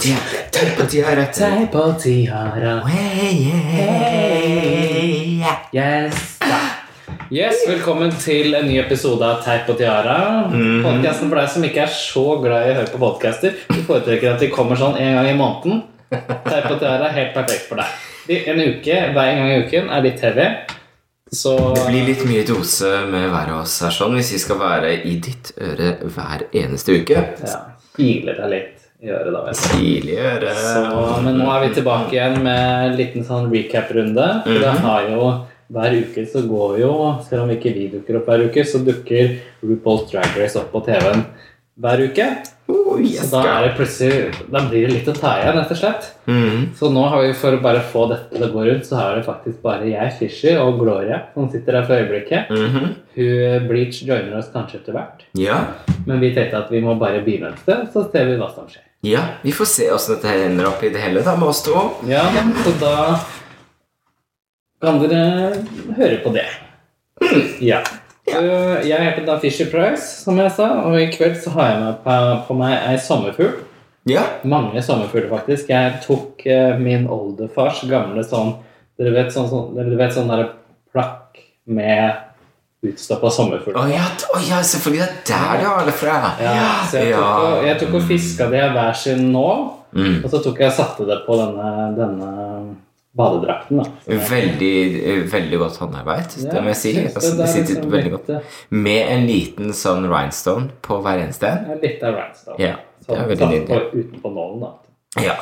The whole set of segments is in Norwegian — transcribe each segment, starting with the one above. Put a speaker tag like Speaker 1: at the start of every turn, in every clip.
Speaker 1: tiara, tenn på tiara, tenn
Speaker 2: på tiara.
Speaker 1: Hey, hey, yeah.
Speaker 2: Yes. Yes, Velkommen til en ny episode av Teip og tiara.
Speaker 1: Mhm.
Speaker 2: Podcasten for deg som ikke er så glad i å høre på podcaster. Du foretrekker at de kommer sånn en gang i måneden. Teip og tiara er helt perfekt for deg. I En uke, Hver gang i uken er litt heavy. Så
Speaker 1: Det blir litt mye dose med hver av oss her sånn hvis vi skal være i ditt øre hver eneste uke.
Speaker 2: ja, Kiler deg litt i øret, da. Vet du.
Speaker 1: Tidlig øre.
Speaker 2: Så, men nå er vi tilbake igjen med en liten sånn recap-runde. For det
Speaker 1: Mhm.
Speaker 2: har jo Hver uke så går jo, selv om ikke vi dukker opp hver uke, så dukker RuPaul's Drag Race opp på TV-en hver uke.
Speaker 1: Oh,
Speaker 2: Så
Speaker 1: yes,
Speaker 2: da er
Speaker 1: girl.
Speaker 2: det plutselig Da blir det litt å ta igjen, rett og slett.
Speaker 1: Mhm.
Speaker 2: Så nå har vi, for å bare få dette til å gå rundt, så er det faktisk bare jeg, Fishy og Gloria som sitter her for øyeblikket.
Speaker 1: Mhm.
Speaker 2: Hun Bleach joiner oss kanskje etter hvert.
Speaker 1: Ja.
Speaker 2: Men vi tenkte at vi må bare begynne et sted, så ser vi hva som skjer.
Speaker 1: ja. Vi får se åssen dette her ender opp i det hele, da, med oss to.
Speaker 2: Ja, så da kan dere høre på det. Ja. Øh, Jeg heter da Fisher Price, som jeg sa, og i kveld så har jeg med på, på meg ei sommerfugl.
Speaker 1: Ja.
Speaker 2: Mange sommerfugler, faktisk. Jeg tok eh, min oldefars gamle sånn Dere vet sånn, sånn, dere vet, sånn der plakk med utstoppa sommerfugl.
Speaker 1: Å ja, t- å, ja, selvfølgelig. Det er der du har det fra.
Speaker 2: Ja, så jeg tok, og, jeg tok og fiska det hver sin nål,
Speaker 1: Mm.
Speaker 2: og så tok jeg og satte det på denne, denne badedrakten. da. Så jeg-
Speaker 1: Veldig, eh, veldig godt håndarbeid, det må jeg si.
Speaker 2: synes
Speaker 1: Altså,
Speaker 2: det
Speaker 1: det
Speaker 2: er
Speaker 1: sitter
Speaker 2: liksom
Speaker 1: veldig
Speaker 2: litt,
Speaker 1: godt. Med en liten sånn rhinestone på hver eneste en.
Speaker 2: eh, Litt av rhinestone.
Speaker 1: Ja, det er
Speaker 2: Sånn,
Speaker 1: veldig
Speaker 2: satt
Speaker 1: nydelig.
Speaker 2: på- Utenpå nålen, da.
Speaker 1: Ja.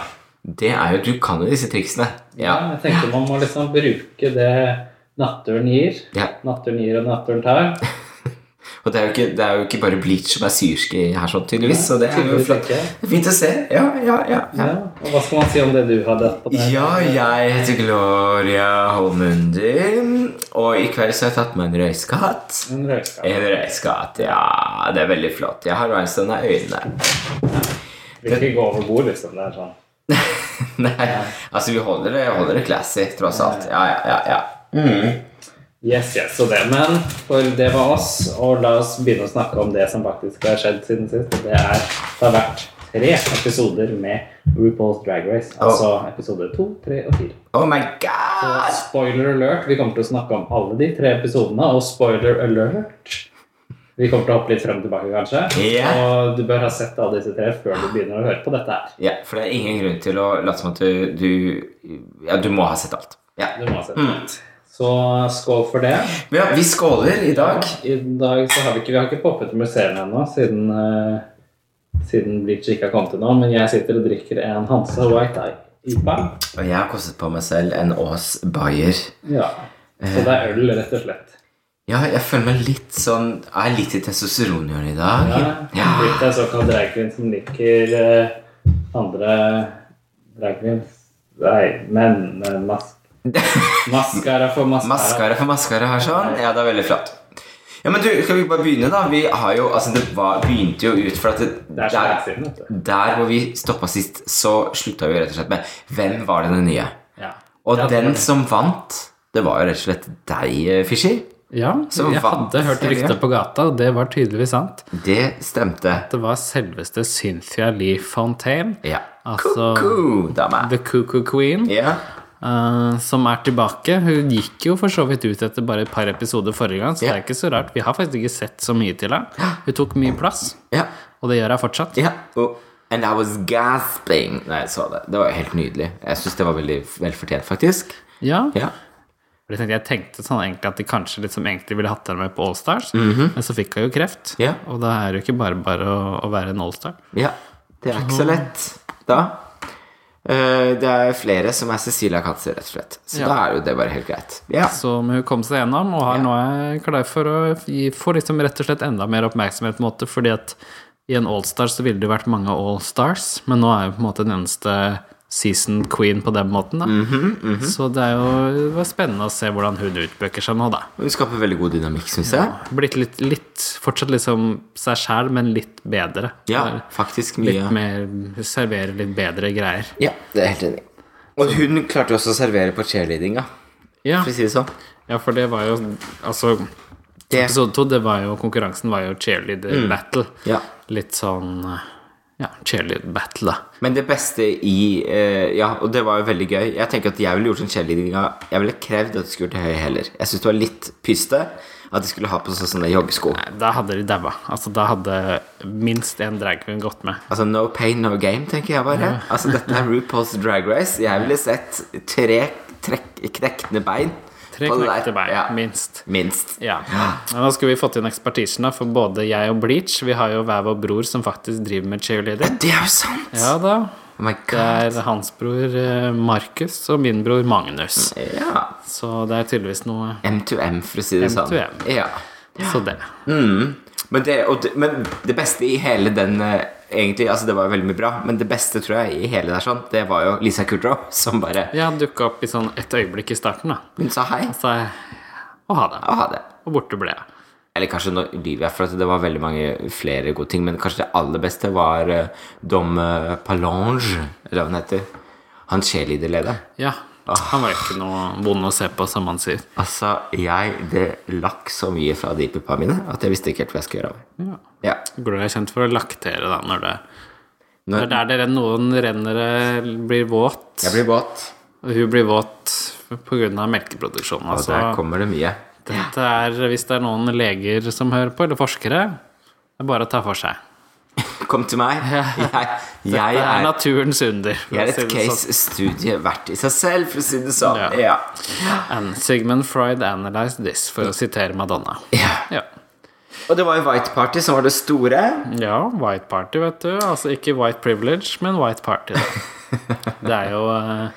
Speaker 1: Det er jo, Du kan jo disse triksene. Ja.
Speaker 2: Jeg tenker man må liksom bruke det naturen gir.
Speaker 1: ja.
Speaker 2: Naturen gir og naturen tar.
Speaker 1: Og det er, jo ikke, det er jo ikke bare bleach som er syrske her, sånn tydeligvis. Så det er jo
Speaker 2: Tydeligvis
Speaker 1: flott.
Speaker 2: ikke.
Speaker 1: Fint å se. Ja, ja, ja. ja.
Speaker 2: Ja. Og hva skal man si om det du hadde på det?
Speaker 1: Ja, jeg heter Gloria Holmunder, og i kveld så har jeg tatt meg en røyskatt.
Speaker 2: En røyskatt.
Speaker 1: En røyskatt, ja. Det er veldig flott. Jeg har rhinestone av øynene.
Speaker 2: Vil ikke gå over bord, liksom. Det er sånn.
Speaker 1: Nei, altså vi holder det, holder det classy, tross alt. Ja, ja, ja. ja.
Speaker 2: Yes, yes, så det. Men for det var oss, og la oss begynne å snakke om det som faktisk har skjedd siden sist. og Det er det har vært tre episoder med RuPaul's Drag Race. Altså episode to, tre og fire.
Speaker 1: Oh my god!
Speaker 2: Spoiler alert, vi kommer til å snakke om alle de tre episodene, og spoiler alert Vi kommer til å hoppe litt frem og tilbake, kanskje.
Speaker 1: Ja.
Speaker 2: Og du bør ha sett alle disse tre før du begynner å høre på dette her.
Speaker 1: Ja, for det er ingen grunn til å late som at du, du Ja, du må ha sett alt. Ja.
Speaker 2: Du må ha sett
Speaker 1: Mm.
Speaker 2: det. Så skål for det.
Speaker 1: Men ja, vi skåler i dag.
Speaker 2: I dag så har vi ikke, vi har ikke poppet til museene ennå, siden, eh, siden Bleach ikke har kommet til nå, men jeg sitter og drikker en Hansa White Eye IPA.
Speaker 1: Og jeg har kostet på meg selv en Aas Bayer.
Speaker 2: Ja. Så det er øl, rett og slett.
Speaker 1: Ja, jeg føler meg litt sånn Jeg er litt i testosteronhjørnet i dag.
Speaker 2: Ja, Blitt en såkalt drag queen som liker eh, andre drag queens. Nei, men men mask. Maskara for maskara.
Speaker 1: Maskara for maskara her sånn. Ja, det er veldig flott. Ja, men du, Skal vi bare begynne, da? Vi har jo, altså Det var, begynte jo ut for at det,
Speaker 2: Det er så lenge
Speaker 1: der,
Speaker 2: siden, vet du.
Speaker 1: der hvor vi stoppa sist, så slutta vi rett og slett med Hvem var denne nye?
Speaker 2: Ja.
Speaker 1: Og
Speaker 2: Ja,
Speaker 1: den
Speaker 2: det-
Speaker 1: som vant, det var jo rett og slett deg, eh, Fischer.
Speaker 3: Ja,
Speaker 1: Som
Speaker 3: jeg
Speaker 1: vant
Speaker 3: hadde hørt
Speaker 1: serien.
Speaker 3: rykter på gata, og det var tydeligvis sant.
Speaker 1: Det stemte.
Speaker 3: Det var selveste Cynthia Lee Fontaine,
Speaker 1: Ja.
Speaker 3: Altså-
Speaker 1: Koko, dame.
Speaker 3: The Cuckoo Queen,
Speaker 1: Ja.
Speaker 3: eh, som er tilbake. Hun gikk jo for så vidt ut etter bare et par episoder forrige gang, så det
Speaker 1: Ja.
Speaker 3: er ikke så rart. Vi har faktisk ikke sett så mye til henne. Hun tok mye plass,
Speaker 1: Ja.
Speaker 3: og det gjør hun fortsatt.
Speaker 1: ja. Og- and I was gasping Nei, jeg så det. Det var helt nydelig. Jeg syns det var veldig velfortjent, faktisk.
Speaker 3: Ja.
Speaker 1: Ja.
Speaker 3: For Jeg tenkte, jeg tenkte sånn egentlig at de kanskje liksom egentlig ville hatt henne med på Allstars, men så fikk hun jo kreft.
Speaker 1: Mhm. Ja.
Speaker 3: Og da er det jo ikke bare bare å, å være en Allstar.
Speaker 1: ja. Det er ikke så lett da. Eh, det er flere som er Cecilia Katzer, rett og slett. Så
Speaker 3: Ja.
Speaker 1: da er jo det bare helt greit. Ja.
Speaker 3: Så hun kom seg gjennom, og her
Speaker 1: Ja.
Speaker 3: nå er jeg klar for å gi, få liksom rett og slett enda mer oppmerksomhet, på en måte, fordi at i en Allstar så ville det jo vært mange Allstars, men nå er jo på en måte den eneste season queen på den måten, da.
Speaker 1: Mhm,
Speaker 3: Så det er jo det var spennende å se hvordan hun utbøker seg nå, da.
Speaker 1: Hun skaper veldig god dynamikk, syns jeg.
Speaker 3: Blitt litt, litt fortsatt liksom seg sjæl, men litt bedre.
Speaker 1: Ja, faktisk
Speaker 3: Litt
Speaker 1: mye.
Speaker 3: mer, serverer litt bedre greier.
Speaker 1: Ja, det er helt enig. Og hun klarte også å servere på cheerleadinga,
Speaker 3: Ja,
Speaker 1: for å si det sånn.
Speaker 3: ja for det var jo, altså,
Speaker 1: Det, Mm.
Speaker 3: Episode to, det var jo konkurransen var jo cheerleader battle.
Speaker 1: Ja.
Speaker 3: Litt sånn eh,
Speaker 2: ja, cheerlead-battle, da.
Speaker 1: Men det beste i eh, Ja, og det var jo veldig gøy. Jeg tenker at jeg ville gjort sånn cheerleadinga Jeg ville krevd at de skulle til høy heller. Jeg syns det var litt pyste at de skulle ha på seg sånne joggesko.
Speaker 2: Da hadde de daua. Altså, da hadde minst én dragqueen gått med.
Speaker 1: Altså No pain, no game, tenker jeg bare. Altså Dette er RuPaul's Drag Race. Jeg ville sett tre trekk, knekne bein.
Speaker 2: Tre
Speaker 1: på det der.
Speaker 2: knekte bein,
Speaker 1: Ja.
Speaker 2: minst.
Speaker 1: Minst.
Speaker 2: Ja. Men da skulle vi fått inn ekspertisen, da, for både jeg og Bleach Vi har jo hver vår bror som faktisk driver med cheerleading.
Speaker 1: Det er jo sant!
Speaker 2: Ja da.
Speaker 1: Oh my
Speaker 2: Det
Speaker 1: god.
Speaker 2: er hans bror eh, Markus og min bror Magnus.
Speaker 1: Ja.
Speaker 2: Så det er tydeligvis noe
Speaker 1: M2M, for å si det sånn.
Speaker 2: M2M.
Speaker 1: Ja.
Speaker 2: Så det.
Speaker 1: Men det, og det, men det beste i hele den eh, Egentlig, altså Det var jo veldig mye bra, men det beste tror jeg i hele der sånn, det var jo Lisa Kudrow som bare
Speaker 2: Ja, dukka opp i sånn et øyeblikk i starten, da.
Speaker 1: Hun sa hei
Speaker 2: Så jeg Å ha det.
Speaker 1: og ha det.
Speaker 2: Og borte ble jeg.
Speaker 1: Eller kanskje nå lyver jeg, for at det var veldig mange flere gode ting. Men kanskje det aller beste var eh, Dom eh, Palange, eller hva han heter. Han cheerleaderlederen.
Speaker 2: Ja. Han var jo ikke noe vond å se på, som han sier.
Speaker 1: Altså, jeg Det lakk så mye fra de puppa mine at jeg visste ikke helt hva jeg skulle gjøre av meg.
Speaker 2: Ja.
Speaker 1: Ja.
Speaker 2: Glor er kjent for å laktere, da, når det Det er
Speaker 1: Når
Speaker 2: der dere noen rennere blir våt,
Speaker 1: jeg blir våt,
Speaker 2: og hun blir våt pga. melkeproduksjonen.
Speaker 1: og
Speaker 2: Altså,
Speaker 1: der kommer det mye.
Speaker 2: dette er, hvis det er noen leger som hører på, eller forskere, det er bare å ta for seg.
Speaker 1: Kom til meg. Jeg, jeg
Speaker 2: det er
Speaker 1: er
Speaker 2: naturens under. for
Speaker 1: jeg er
Speaker 2: å
Speaker 1: et
Speaker 2: si det sånn.
Speaker 1: case-studie verdt i seg selv, for å si det sånn.
Speaker 2: Ja.
Speaker 1: Ja.
Speaker 2: And Sigmund Freud analyzed this, for å sitere Madonna.
Speaker 1: ja.
Speaker 2: Ja.
Speaker 1: Og det var jo White Party som var det store.
Speaker 2: ja, white party, vet du. Altså ikke white privilege, men white party. da. Det er jo eh,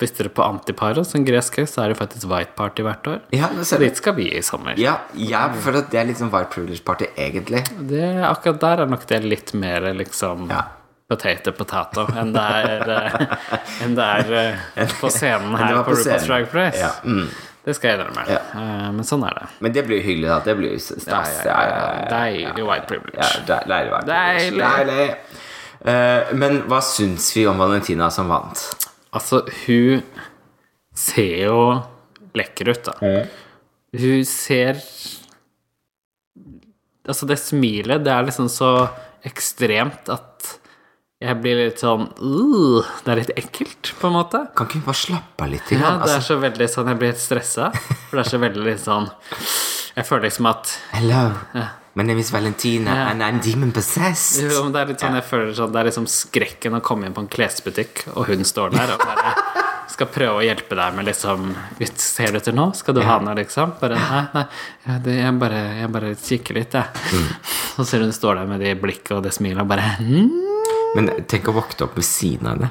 Speaker 2: Hvis dere er på antiparos, en gresk høy, så er det faktisk white party hvert år.
Speaker 1: Ja, nå ser du.
Speaker 2: Dit skal vi i sommer.
Speaker 1: Ja, jeg føler at det er litt sånn white privilege-party, egentlig.
Speaker 2: Det, akkurat der er nok det litt mer liksom
Speaker 1: Ja.
Speaker 2: potato potato enn det er, eh, enn det er eh, på scenen her
Speaker 1: var
Speaker 2: på,
Speaker 1: på
Speaker 2: RuPaul's
Speaker 1: scenen.
Speaker 2: Drag Race.
Speaker 1: Ja, mm.
Speaker 2: Det skal jeg innrømme.
Speaker 1: Ja.
Speaker 2: Eh, men sånn er det.
Speaker 1: Men det blir jo hyggelig, da. Det blir jo stas. Ja, ja, ja,
Speaker 2: Deilig white privilege.
Speaker 1: ja. de- Deilig. vært.
Speaker 2: Deilig.
Speaker 1: Deilig. Eh, men hva syns vi om Valentina som vant?
Speaker 2: Altså, hun ser jo lekker ut, da. Hun ser Altså, det smilet, det er liksom så ekstremt at jeg blir litt sånn uh, Det er litt ekkelt, på en måte.
Speaker 1: Kan ikke hun bare slappe av litt? Til,
Speaker 2: Ja,
Speaker 1: han?
Speaker 2: det er
Speaker 1: altså,
Speaker 2: så veldig sånn Jeg blir helt stressa. For det er så veldig litt sånn Jeg føler liksom at
Speaker 1: hello. My name is Valentina,
Speaker 2: Ja.
Speaker 1: and I'm demon possessed.
Speaker 2: jo, men Det er litt sånn jeg føler sånn Det er liksom skrekken å komme inn på en klesbutikk, og hun står der og bare skal prøve å hjelpe deg med liksom «Vet, Ser du etter nå? Skal du ha noe, liksom? Bare Nei, nei. ja, det- Jeg bare, jeg bare kikker litt, jeg. Og ser hun står der med det blikket og det smilet og bare «Hm?»
Speaker 1: Men tenk å våkne opp ved siden av henne.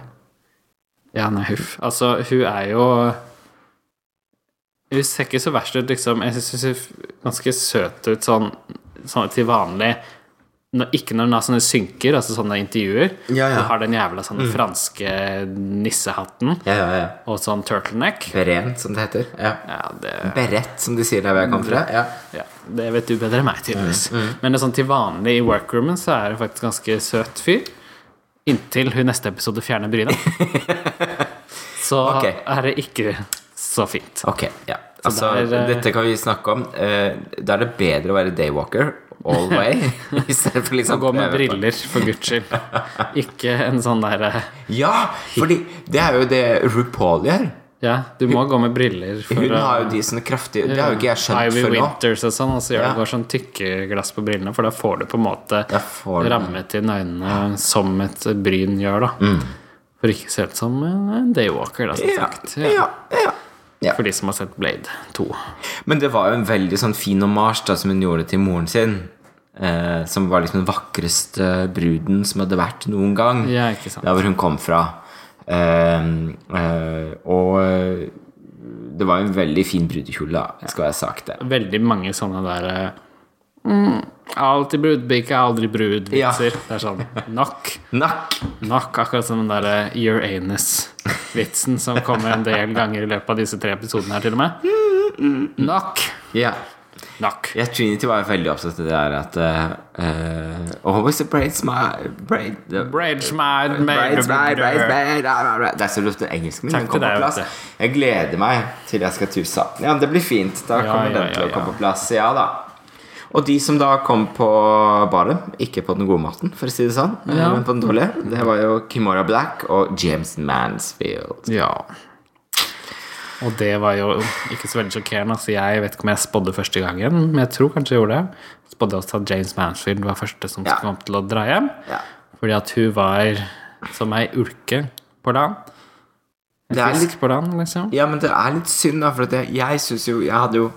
Speaker 2: Ja, nei, huff. Altså, hun er jo Hun ser ikke så verst ut, liksom. Jeg syns hun ser ganske søt ut sånn, sånn til vanlig. Når, ikke når hun har sånne synker, altså sånne intervjuer.
Speaker 1: Ja, Mm. ja.
Speaker 2: Hun har den jævla sånne franske nissehatten
Speaker 1: Ja, ja, ja.
Speaker 2: og sånn turtleneck.
Speaker 1: Beren, som det heter. Ja.
Speaker 2: Ja, det,
Speaker 1: Berett, som de sier der hvor jeg kommer fra. Ja.
Speaker 2: ja, det vet du bedre enn meg, tydeligvis.
Speaker 1: Mm,
Speaker 2: Men det er sånn til vanlig i workroomen så er hun faktisk ganske søt fyr. Inntil hun neste episode fjerner bryna. så
Speaker 1: Ok.
Speaker 2: er det ikke så fint.
Speaker 1: Ok, ja. Altså,
Speaker 2: der, eh,
Speaker 1: dette kan vi snakke om. Eh, Da er det bedre å være daywalker all way. I stedet for liksom
Speaker 2: Gå med
Speaker 1: prøve på-
Speaker 2: briller, for guds skyld. Ikke en sånn derre
Speaker 1: Ja, fordi det er jo det RuPaul gjør.
Speaker 2: Ja, du må gå med briller for
Speaker 1: Hun
Speaker 2: å
Speaker 1: har jo de sånne kraftige Det har jo ikke jeg skjønt
Speaker 2: Ivy
Speaker 1: før nå.
Speaker 2: Winters og sånn, og så gjør
Speaker 1: Ja.
Speaker 2: du bare sånn tykke glass på brillene, for da får du på en måte
Speaker 1: Da får du-
Speaker 2: rammet inn øynene som et bryn gjør, da. For ikke se ut som en daywalker, da, som
Speaker 1: Mm. Ja,
Speaker 2: sagt.
Speaker 1: ja, ja. ja.
Speaker 2: For de som har sett Blade 2.
Speaker 1: Men det var jo en veldig sånn fin omasj da, som hun gjorde til moren sin. Eh, som var liksom den vakreste bruden som hadde vært noen gang.
Speaker 2: Ja, ikke sant.
Speaker 1: Der hvor hun kom fra. Eh, eh, og eh, det var jo en veldig fin brudekjole, da, skal jeg ha sagt det.
Speaker 2: Veldig mange sånne der eh, mm, Alltid brudpike, aldri
Speaker 1: Ja.
Speaker 2: brud-vitser. Det er sånn nok.
Speaker 1: Nakk!
Speaker 2: Nok akkurat som den der eh, your anus-vitsen som kommer en del ganger i løpet av disse tre episodene her, til og med. Nok.
Speaker 1: Ja.
Speaker 2: Nok.
Speaker 1: Jeg, Trinity var jo veldig opptatt av det der at eh, eh, Always a braids my braid,
Speaker 2: Braids my
Speaker 1: Braids, braids, braids, braids, ah, ah, ah. Det er så lurt engelsken min
Speaker 2: Takk
Speaker 1: den kom
Speaker 2: til
Speaker 1: på
Speaker 2: deg,
Speaker 1: plass.
Speaker 2: vet
Speaker 1: Jeg gleder meg til jeg skal tusa. Ja, men Det blir fint. Da
Speaker 2: Ja,
Speaker 1: kommer
Speaker 2: ja,
Speaker 1: den til
Speaker 2: ja,
Speaker 1: å komme
Speaker 2: ja.
Speaker 1: på plass. Ja da. Og de som da kom på baren, ikke på den gode maten, for å si det sånn, eh, men på den dårlige, det var jo Kimora Black og James Mansfield.
Speaker 2: Ja. Og det var jo ikke så veldig sjokkerende. Altså, jeg vet ikke om jeg spådde første gangen, men jeg tror kanskje jeg gjorde det. Spådde også at James Mansfield var første som
Speaker 1: Ja.
Speaker 2: kom til å dra hjem.
Speaker 1: Ja.
Speaker 2: Fordi at hun var som ei ulke på land. En
Speaker 1: Det er
Speaker 2: fisk på land, liksom.
Speaker 1: Ja, men det er litt synd, da, for at jeg, jeg syns jo Jeg hadde jo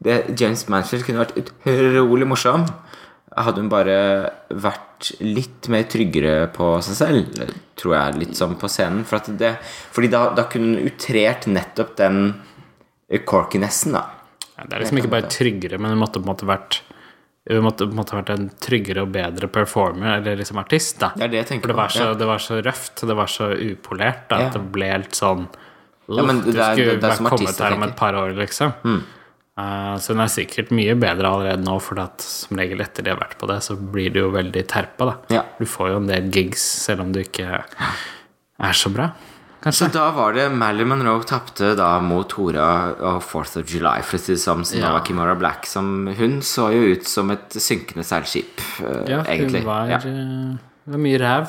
Speaker 1: det, James Mansfield kunne vært utrolig morsom. Hadde hun bare vært litt mer tryggere på seg selv, tror jeg, litt sånn på scenen. For at det, fordi da, da kunne hun utrert nettopp den corkinessen, da.
Speaker 2: Ja, Det er liksom ikke bare tryggere, men hun måtte på en måte vært hun måtte på en måte vært en tryggere og bedre performer, eller liksom artist, da.
Speaker 1: Det er det jeg tenker
Speaker 2: For det
Speaker 1: på,
Speaker 2: var, så,
Speaker 1: ja.
Speaker 2: det var så røft, det var så upolert, da,
Speaker 1: Ja.
Speaker 2: at det ble helt sånn
Speaker 1: Ja, men
Speaker 2: «Uff,
Speaker 1: det
Speaker 2: Du
Speaker 1: er-
Speaker 2: skulle
Speaker 1: det- det er
Speaker 2: bare
Speaker 1: som artist
Speaker 2: kommet
Speaker 1: jeg Mm.
Speaker 2: her om et
Speaker 1: tenker.
Speaker 2: par år, liksom. Eh, så hun er sikkert mye bedre allerede nå, for at som regel etter de har vært på det, så blir du jo veldig terpa, da.
Speaker 1: Ja.
Speaker 2: Du får jo en del gigs, selv om du ikke er så bra,
Speaker 1: Så
Speaker 2: kanskje.
Speaker 1: da var det Marilyn Monroe tapte da mot Hora og 4th of July, for å si det sånn, som da var Kimora Black. Som hun så jo ut som et synkende seilskip, eh,
Speaker 2: Ja,
Speaker 1: egentlig.
Speaker 2: hun var,
Speaker 1: Ja.
Speaker 2: eh, det var mye ræv.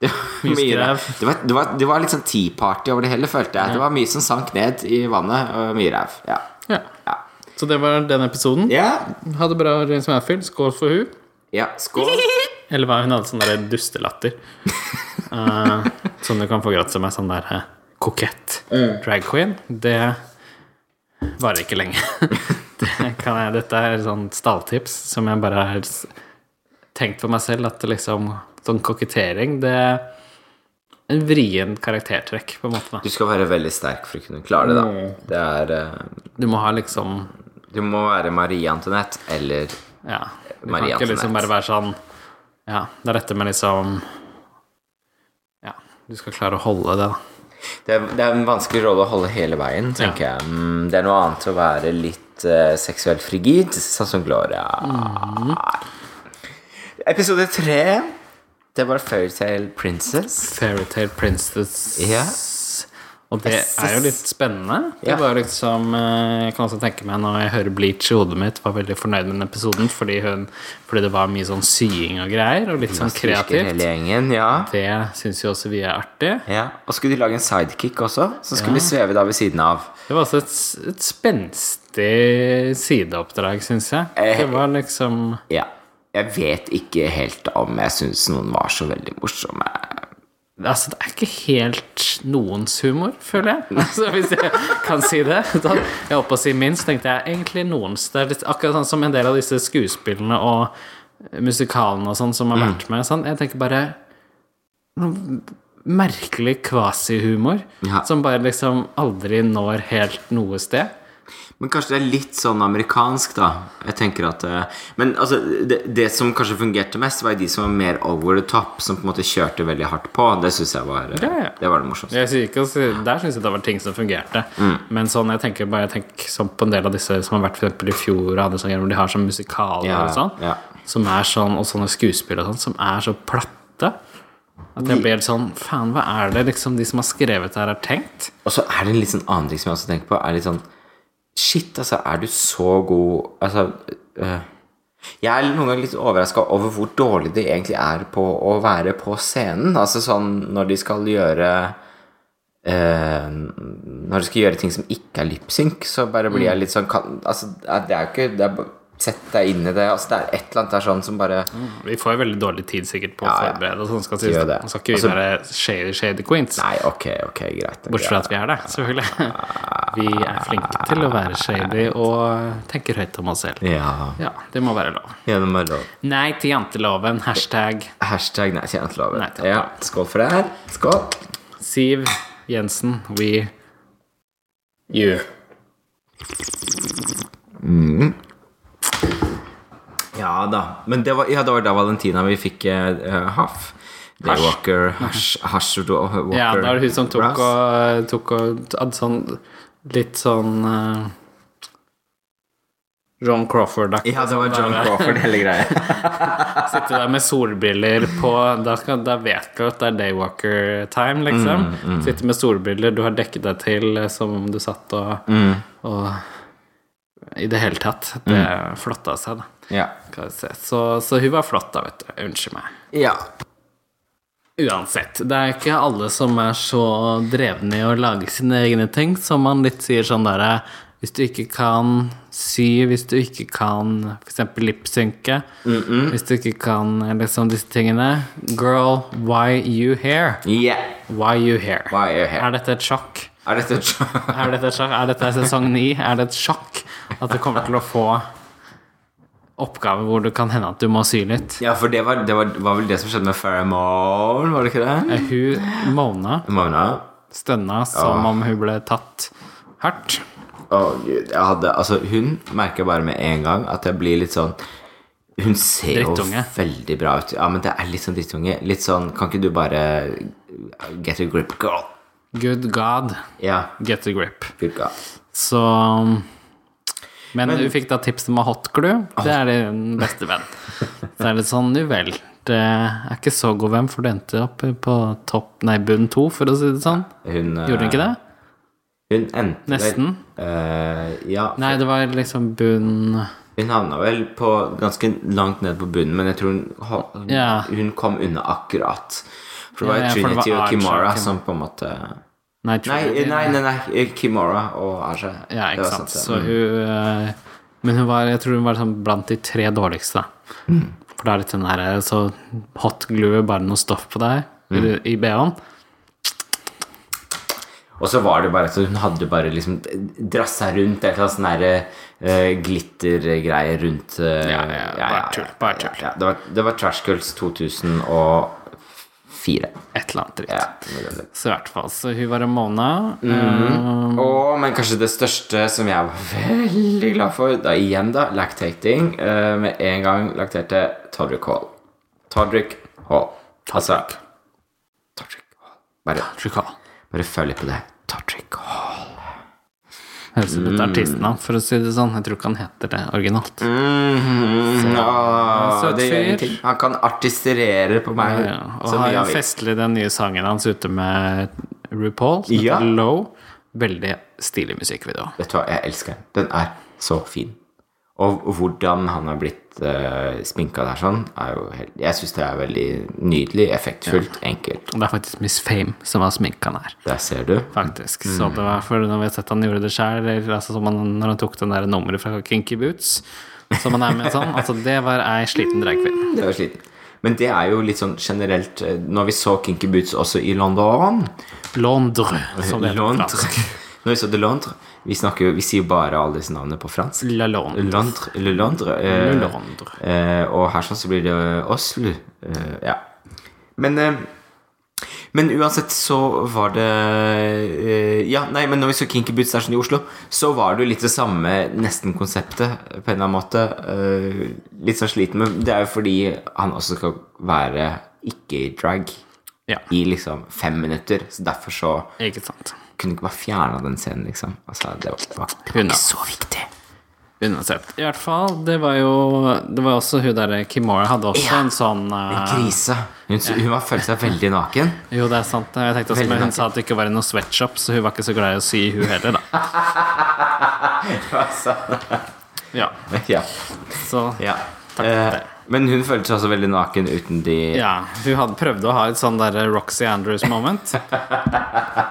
Speaker 1: Det var mye
Speaker 2: skrev.
Speaker 1: ræv. Det var, det, var, det var litt sånn tea party over det hele, følte jeg. Det var mye som sank ned i vannet, og mye ræv. Ja.
Speaker 2: Ja.
Speaker 1: Ja.
Speaker 2: Så det var den episoden.
Speaker 1: ja.
Speaker 2: Ha det bra, James Manfield. Skål for hun.
Speaker 1: ja. Skål.
Speaker 2: Eller hva, hun hadde sånn der dustelatter. Eh, som du kan få gratis av meg, sånn der eh, kokett drag queen. Det varer ikke lenge. det kan jeg, dette er sånn stalltips som jeg bare har s- tenkt for meg selv, at det liksom sånn kokettering, det er en vrien karaktertrekk, på en måte.
Speaker 1: Du skal være veldig sterk for å kunne klare det, da. Det er eh,
Speaker 2: da. Du må ha liksom
Speaker 1: Du må være Marie Antoinette eller
Speaker 2: Ja. Du kan
Speaker 1: Marie
Speaker 2: ikke liksom
Speaker 1: Antoinette.
Speaker 2: bare være sånn Ja, det er dette med liksom Ja, du skal klare å holde det, da.
Speaker 1: det er, det er en vanskelig rolle å holde hele veien, tenker jeg. Mm, Det er noe annet å være litt eh, seksuelt frigid, sånn som Gloria. Episode tre, det var Fairytale Princess.
Speaker 2: Fairytale Princess.
Speaker 1: Ja.
Speaker 2: Og det er jo litt spennende. Det
Speaker 1: Ja.
Speaker 2: var jo liksom eh, Jeg kan også tenke meg når jeg hører Bleach i hodet mitt, var veldig fornøyd med den episoden fordi, hun, fordi det var mye sånn sying og greier, og litt sånn
Speaker 1: Husker
Speaker 2: kreativt.
Speaker 1: Hele gjengen, ja.
Speaker 2: Det syns jo også vi er artig.
Speaker 1: Ja, Og skulle de lage en sidekick også, som skulle sveve da ved siden av.
Speaker 2: Det var også et, s- et spenstig sideoppdrag, syns jeg.
Speaker 1: Eh,
Speaker 2: Det var liksom
Speaker 1: Ja. Jeg vet ikke helt om jeg syns noen var så veldig morsomme.
Speaker 2: Altså, det er ikke helt noens humor, føler jeg. Altså, hvis jeg kan si det. Da, jeg holdt på å si minst, tenkte jeg egentlig noens. Det er litt, akkurat sånn som en del av disse skuespillene og musikalene og sånn som har vært med. Sånn. Jeg tenker bare noe merkelig kvasihumor
Speaker 1: Ja.
Speaker 2: som bare liksom aldri når helt noe sted.
Speaker 1: Men kanskje det er litt sånn amerikansk, da. Jeg tenker at eh, Men altså, det, det som kanskje fungerte mest, var de som var mer over the top, som på en måte kjørte veldig hardt på. Det syns jeg var eh,
Speaker 2: Ja, ja.
Speaker 1: Det var det morsomste.
Speaker 2: Jeg sier ikke, å si- der syns jeg det var ting som fungerte.
Speaker 1: Mm.
Speaker 2: Men sånn, jeg tenker bare jeg tenker sånn på en del av disse som har vært for eksempel i fjor, og andre sånne, hvor de har sånn musikaler
Speaker 1: Ja,
Speaker 2: og sånn,
Speaker 1: ja.
Speaker 2: som er sånn, og sånne skuespill og sånn, som er så platte. At jeg blir helt sånn Faen, hva er det liksom de som har skrevet det her, har tenkt?
Speaker 1: Og så er det en litt sånn annen ting som jeg også tenker på. Er litt sånn Shit, altså, er du så god Altså øh, Jeg er noen ganger litt overraska over hvor dårlig de egentlig er på å være på scenen. Altså sånn når de skal gjøre øh, Når de skal gjøre ting som ikke er lipsynk, så bare blir
Speaker 2: Mm.
Speaker 1: jeg litt sånn kan, Altså, det er jo ikke det er, bare- Sett deg inn i det. Altså, det er et eller annet der sånn som bare
Speaker 2: Vi får jo veldig dårlig tid sikkert på å
Speaker 1: Ja, ja.
Speaker 2: forberede og sånn, skal
Speaker 1: Gjør
Speaker 2: sies.
Speaker 1: det.
Speaker 2: Nå skal ikke vi
Speaker 1: Altså-
Speaker 2: være shady, shady queens,
Speaker 1: Nei, ok, ok, greit.
Speaker 2: bortsett fra at vi er det, selvfølgelig. Vi er flinke til å være shady og tenker høyt om oss selv.
Speaker 1: Ja.
Speaker 2: Ja, det må være lov.
Speaker 1: Gjennom å lov.
Speaker 2: Nei til janteloven. Hashtag
Speaker 1: Hashtag nei, kjenner til loven.
Speaker 2: Nei, takk.
Speaker 1: Ja, skål for det her. Skål.
Speaker 2: Siv Jensen, we you.
Speaker 1: Ja da. Men det var, ja, det var da Valentina vi fikk uh, Huff. Day Walker Hash, hash Walker
Speaker 2: Ja, da var det hun som tok
Speaker 1: Brass.
Speaker 2: og, tok og hadde sånn litt sånn eh, John Crawford-aktig.
Speaker 1: Ja, det var John Crawford, hele greia.
Speaker 2: Sitte der med solbriller på Da, skal, da vet du at det er daywalker-time, liksom. Sitte med solbriller, du har dekket deg til eh, som om du satt og, og I det hele tatt. Det flotta seg, da.
Speaker 1: Ja.
Speaker 2: Skal vi se. Så, så hun var flott, da, vet du. Unnskyld meg.
Speaker 1: ja.
Speaker 2: Uansett, det er ikke alle som er så drevne i å lage sine egne ting, som man litt sier sånn derre Hvis du ikke kan sy, hvis du ikke kan f.eks. lipsynke, hvis du ikke kan eh, liksom disse tingene Girl, why you here?
Speaker 1: Yeah.
Speaker 2: Why you here?
Speaker 1: Why you here?
Speaker 2: Er dette et sjokk?
Speaker 1: Er dette et sjokk?
Speaker 2: Er dette, et sjokk? Er dette sesong ni? Er det et sjokk at du kommer til å få oppgaver hvor det kan hende at du må sy litt?
Speaker 1: Ja, for det var, det var, var vel det som skjedde med Pheromone, var det ikke det?
Speaker 2: Hun, Mona,
Speaker 1: Mona?
Speaker 2: stønna som om hun ble tatt hardt.
Speaker 1: Å, Gud. Jeg hadde Altså, hun merker bare med en gang at jeg blir litt sånn Hun ser jo
Speaker 2: Drittunge.
Speaker 1: veldig bra ut. Ja, men det er litt sånn drittunge. Litt sånn Kan ikke du bare Get a grip, girl.
Speaker 2: Good God,
Speaker 1: Ja.
Speaker 2: get a grip.
Speaker 1: Good girl.
Speaker 2: Så Men, Ah. hun fikk da tips om å hot glue. Det er din beste venn. Så er det sånn, nu vel. Det er ikke så god venn, for du endte opp på topp, nei, bunn to, for å si det sånn.
Speaker 1: Hun eh,
Speaker 2: Gjorde hun ikke det?
Speaker 1: Hun endte
Speaker 2: Nesten.
Speaker 1: Vel, eh, ja.
Speaker 2: Nei, det var liksom bunn
Speaker 1: Hun havna vel på ganske langt ned på bunnen, men jeg tror hun, ho-
Speaker 2: Ja.
Speaker 1: hun kom unna akkurat. For det var
Speaker 2: Ja, ja, for det
Speaker 1: Trinity
Speaker 2: var
Speaker 1: og
Speaker 2: Archer og
Speaker 1: Kimora
Speaker 2: Kimora.
Speaker 1: som på en måte Nei,
Speaker 2: Nei, Trinity.
Speaker 1: nei, nei, nei. Kimora og Asha.
Speaker 2: Ja,
Speaker 1: Det
Speaker 2: ikke
Speaker 1: var sånn,
Speaker 2: sant.
Speaker 1: ja. Mm.
Speaker 2: Så hun eh, Men hun var, jeg tror hun var sånn blant de tre dårligste.
Speaker 1: Mm.
Speaker 2: For det er litt den der eh, så hot glue, bare noe stoff på deg
Speaker 1: Mm.
Speaker 2: eller i BH-en.
Speaker 1: Og så var det bare så hun hadde bare liksom drassa rundt et eller annet sånn derre eh, glittergreie rundt eh,
Speaker 2: Ja, ja, bare tull, bare tull.
Speaker 1: ja. Det, var, det var Trash Girls 2004.
Speaker 2: Et eller annet dritt.
Speaker 1: Ja, det var det.
Speaker 2: Så i hvert fall, så hun var en måned.
Speaker 1: Mm.
Speaker 2: eh,
Speaker 1: Og, men kanskje det største som jeg var veldig glad for, da igjen, da, lactating. eh, med en gang lakterte Todrick Hall. Todrick Hall. Altså Todrick Hall. Bare,
Speaker 2: Trikal.
Speaker 1: bare følg litt på det. Todrick Hall.
Speaker 2: Høres ut som
Speaker 1: Mm.
Speaker 2: et artistnavn, for å si det sånn. Jeg tror ikke han heter det originalt.
Speaker 1: Mm, Åh,
Speaker 2: Søt
Speaker 1: det
Speaker 2: fyr.
Speaker 1: gjør ingenting. Han kan artisterere på meg
Speaker 2: Ja, og
Speaker 1: så mye
Speaker 2: har
Speaker 1: han vil.
Speaker 2: festlig den nye sangen hans ute med RuPaul, som heter
Speaker 1: Ja.
Speaker 2: Low. Veldig stilig musikkvideo.
Speaker 1: Vet du hva, jeg elsker den. Den er så fin. Og hvordan han har blitt uh, sminka der sånn, er jo helt Jeg syns det er veldig nydelig, effektfullt, enkelt.
Speaker 2: Og det er faktisk Miss Fame som har sminka den her.
Speaker 1: Der ser du.
Speaker 2: faktisk.
Speaker 1: Mm.
Speaker 2: Så det var for når vi har sett han gjorde det selv eller altså som han, når han tok den der nummeret fra Kinky Boots, som han er med sånn, altså det var ei sliten dragkvinne.
Speaker 1: Det var sliten. Men det er jo litt sånn generelt eh, Når vi så Kinky Boots også i London
Speaker 2: Londre, som det heter på
Speaker 1: Londres.
Speaker 2: fransk.
Speaker 1: Når vi så de Londres Vi, snakker jo, vi sier jo bare alle disse navnene på fransk.
Speaker 2: La Londre.
Speaker 1: Londres, Le Londres, eh,
Speaker 2: Le Londres.
Speaker 1: eh, og her sånn så blir det Oslo. Eh, ja. Men eh, men uansett så var det eh, Ja, nei, men når vi så Kinky Boots Station i Oslo, så var det jo litt det samme nesten-konseptet på en eller annen måte. Eh, litt sånn sliten med Det er jo fordi han også skal være ikke i drag
Speaker 2: Ja,
Speaker 1: i liksom fem minutter. Så derfor så
Speaker 2: ikke sant.
Speaker 1: kunne ikke bare fjerna den scenen, liksom. Altså, det var, det var ikke
Speaker 2: Unna.
Speaker 1: så viktig.
Speaker 2: Uansett. I hvert fall, det var jo Det var også hun derre Kimora hadde også
Speaker 1: Ja.
Speaker 2: en sånn eh,
Speaker 1: Krise. Hun, hun har følt seg veldig naken.
Speaker 2: Jo, det er sant. eh, Jeg tenkte også,
Speaker 1: Veldig
Speaker 2: men
Speaker 1: naken.
Speaker 2: Hun sa at det ikke var i noen sweatshop, så hun var ikke så glad i å sy, hun heller, da.
Speaker 1: altså.
Speaker 2: Ja,
Speaker 1: Ja.
Speaker 2: så
Speaker 1: ja. Eh, men hun følte seg også veldig naken uten de
Speaker 2: Ja, hun hadde prøvd å ha et sånn der Roxy Andrews-moment.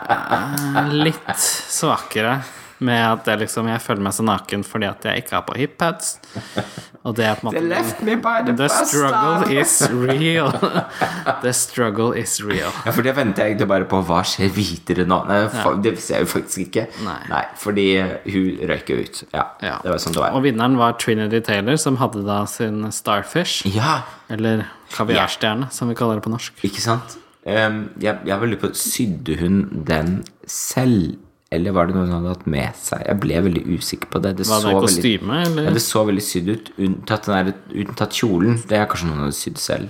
Speaker 2: Litt svakere med at jeg liksom Jeg føler meg så naken fordi at jeg ikke har på hippads. Og det er på en måte
Speaker 1: me by
Speaker 2: The struggle is real. The struggle is real.
Speaker 1: Ja, for det venter jeg egentlig bare på. Hva skjer videre nå? Nei, fa- Det ser jeg jo faktisk ikke.
Speaker 2: Nei.
Speaker 1: fordi hun røyk jo ut. Ja,
Speaker 2: Ja.
Speaker 1: Det var sånn det var.
Speaker 2: Og vinneren var Trinity Taylor, som hadde da sin Starfish.
Speaker 1: Ja,
Speaker 2: Eller kaviarstjerne, som vi kaller det på norsk.
Speaker 1: ikke sant? Ehm, jeg, jeg var litt på Sydde hun den selv? Eller var det noe hun hadde hatt med seg? Jeg ble veldig usikker på det. Det
Speaker 2: Var
Speaker 1: så
Speaker 2: det
Speaker 1: veldig
Speaker 2: kostyme,
Speaker 1: Ja,
Speaker 2: eller?
Speaker 1: det så veldig sydd ut, unntatt, den der, unntatt kjolen. Det er kanskje noen hadde sydd selv.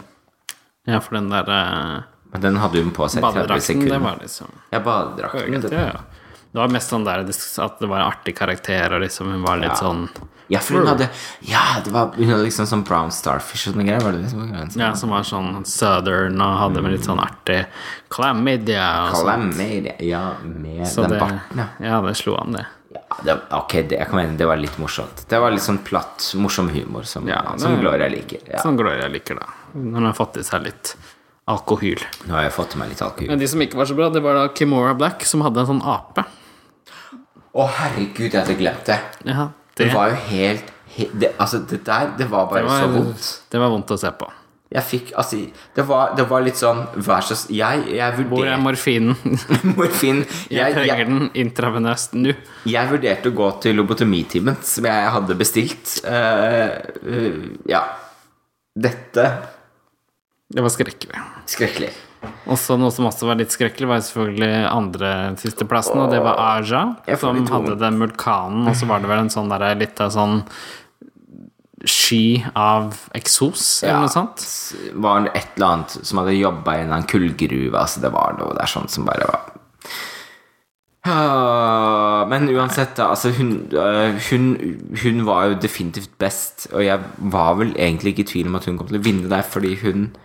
Speaker 2: Ja, for den der eh,
Speaker 1: Men den hadde hun på seg i 30
Speaker 2: badedrakten, det
Speaker 1: sekunder.
Speaker 2: var liksom
Speaker 1: Ja, badedrakten.
Speaker 2: Ja,
Speaker 1: det-
Speaker 2: ja. Det var mest sånn der at det var en artig karakter, og liksom hun var litt sånn
Speaker 1: Ja, for hun hadde Ja, det var, hun hadde liksom sånn brown starfish og sånne greier. Var det det som var greia? Sånn
Speaker 2: Ja, som var sånn southern og hadde med litt sånn artig chlamydia og sånn.
Speaker 1: Chlamydia. Ja, med
Speaker 2: Så
Speaker 1: den
Speaker 2: det,
Speaker 1: barten, ja.
Speaker 2: ja, det slo an, det.
Speaker 1: Ja, det, ok, det, jeg kan mene det var litt morsomt. Det var litt sånn platt, morsom humor som,
Speaker 2: Ja, det-
Speaker 1: som Gloria liker. Ja.
Speaker 2: Sånn Gloria liker, da. Når hun har fått i seg litt alkohyl.
Speaker 1: Nå har jeg fått i meg litt alkohol.
Speaker 2: Men de som ikke var så bra, det var da Kimora Black, som hadde en sånn ape.
Speaker 1: Å, herregud, jeg hadde glemt det.
Speaker 2: Ja,
Speaker 1: Det
Speaker 2: det,
Speaker 1: var jo helt, he, det, Altså, det der, det var bare
Speaker 2: det var-
Speaker 1: så vondt.
Speaker 2: det var vondt å se på.
Speaker 1: Jeg fikk Altså, det var, det var litt sånn Vær så s- Jeg, jeg
Speaker 2: Hvor er
Speaker 1: vurderte
Speaker 2: morfinen?
Speaker 1: Morfin. Jeg,
Speaker 2: Jeg trenger
Speaker 1: jeg,
Speaker 2: den intravenøst nå.
Speaker 1: jeg vurderte å gå til lobotomitimen, som jeg hadde bestilt. Eh, eh, ja. Dette
Speaker 2: Det var skrekkelig.
Speaker 1: Skrekkelig.
Speaker 2: Og så noe som også var litt skrekkelig, var selvfølgelig andre sisteplassen, og det var Aja,
Speaker 1: Jeg får
Speaker 2: som
Speaker 1: litt vondt.
Speaker 2: hadde den vulkanen, og så var det vel en sånn der, litt av sånn sky av eksos,
Speaker 1: Ja.
Speaker 2: eller noe sånt.
Speaker 1: Var det et eller annet som hadde jobba i en eller annen kullgruve. Altså, det var noe der sånn som bare var Ah, Men uansett, da. Altså, hun, eh, hun, hun var jo definitivt best, og jeg var vel egentlig ikke i tvil om at hun kom til å vinne der, fordi hun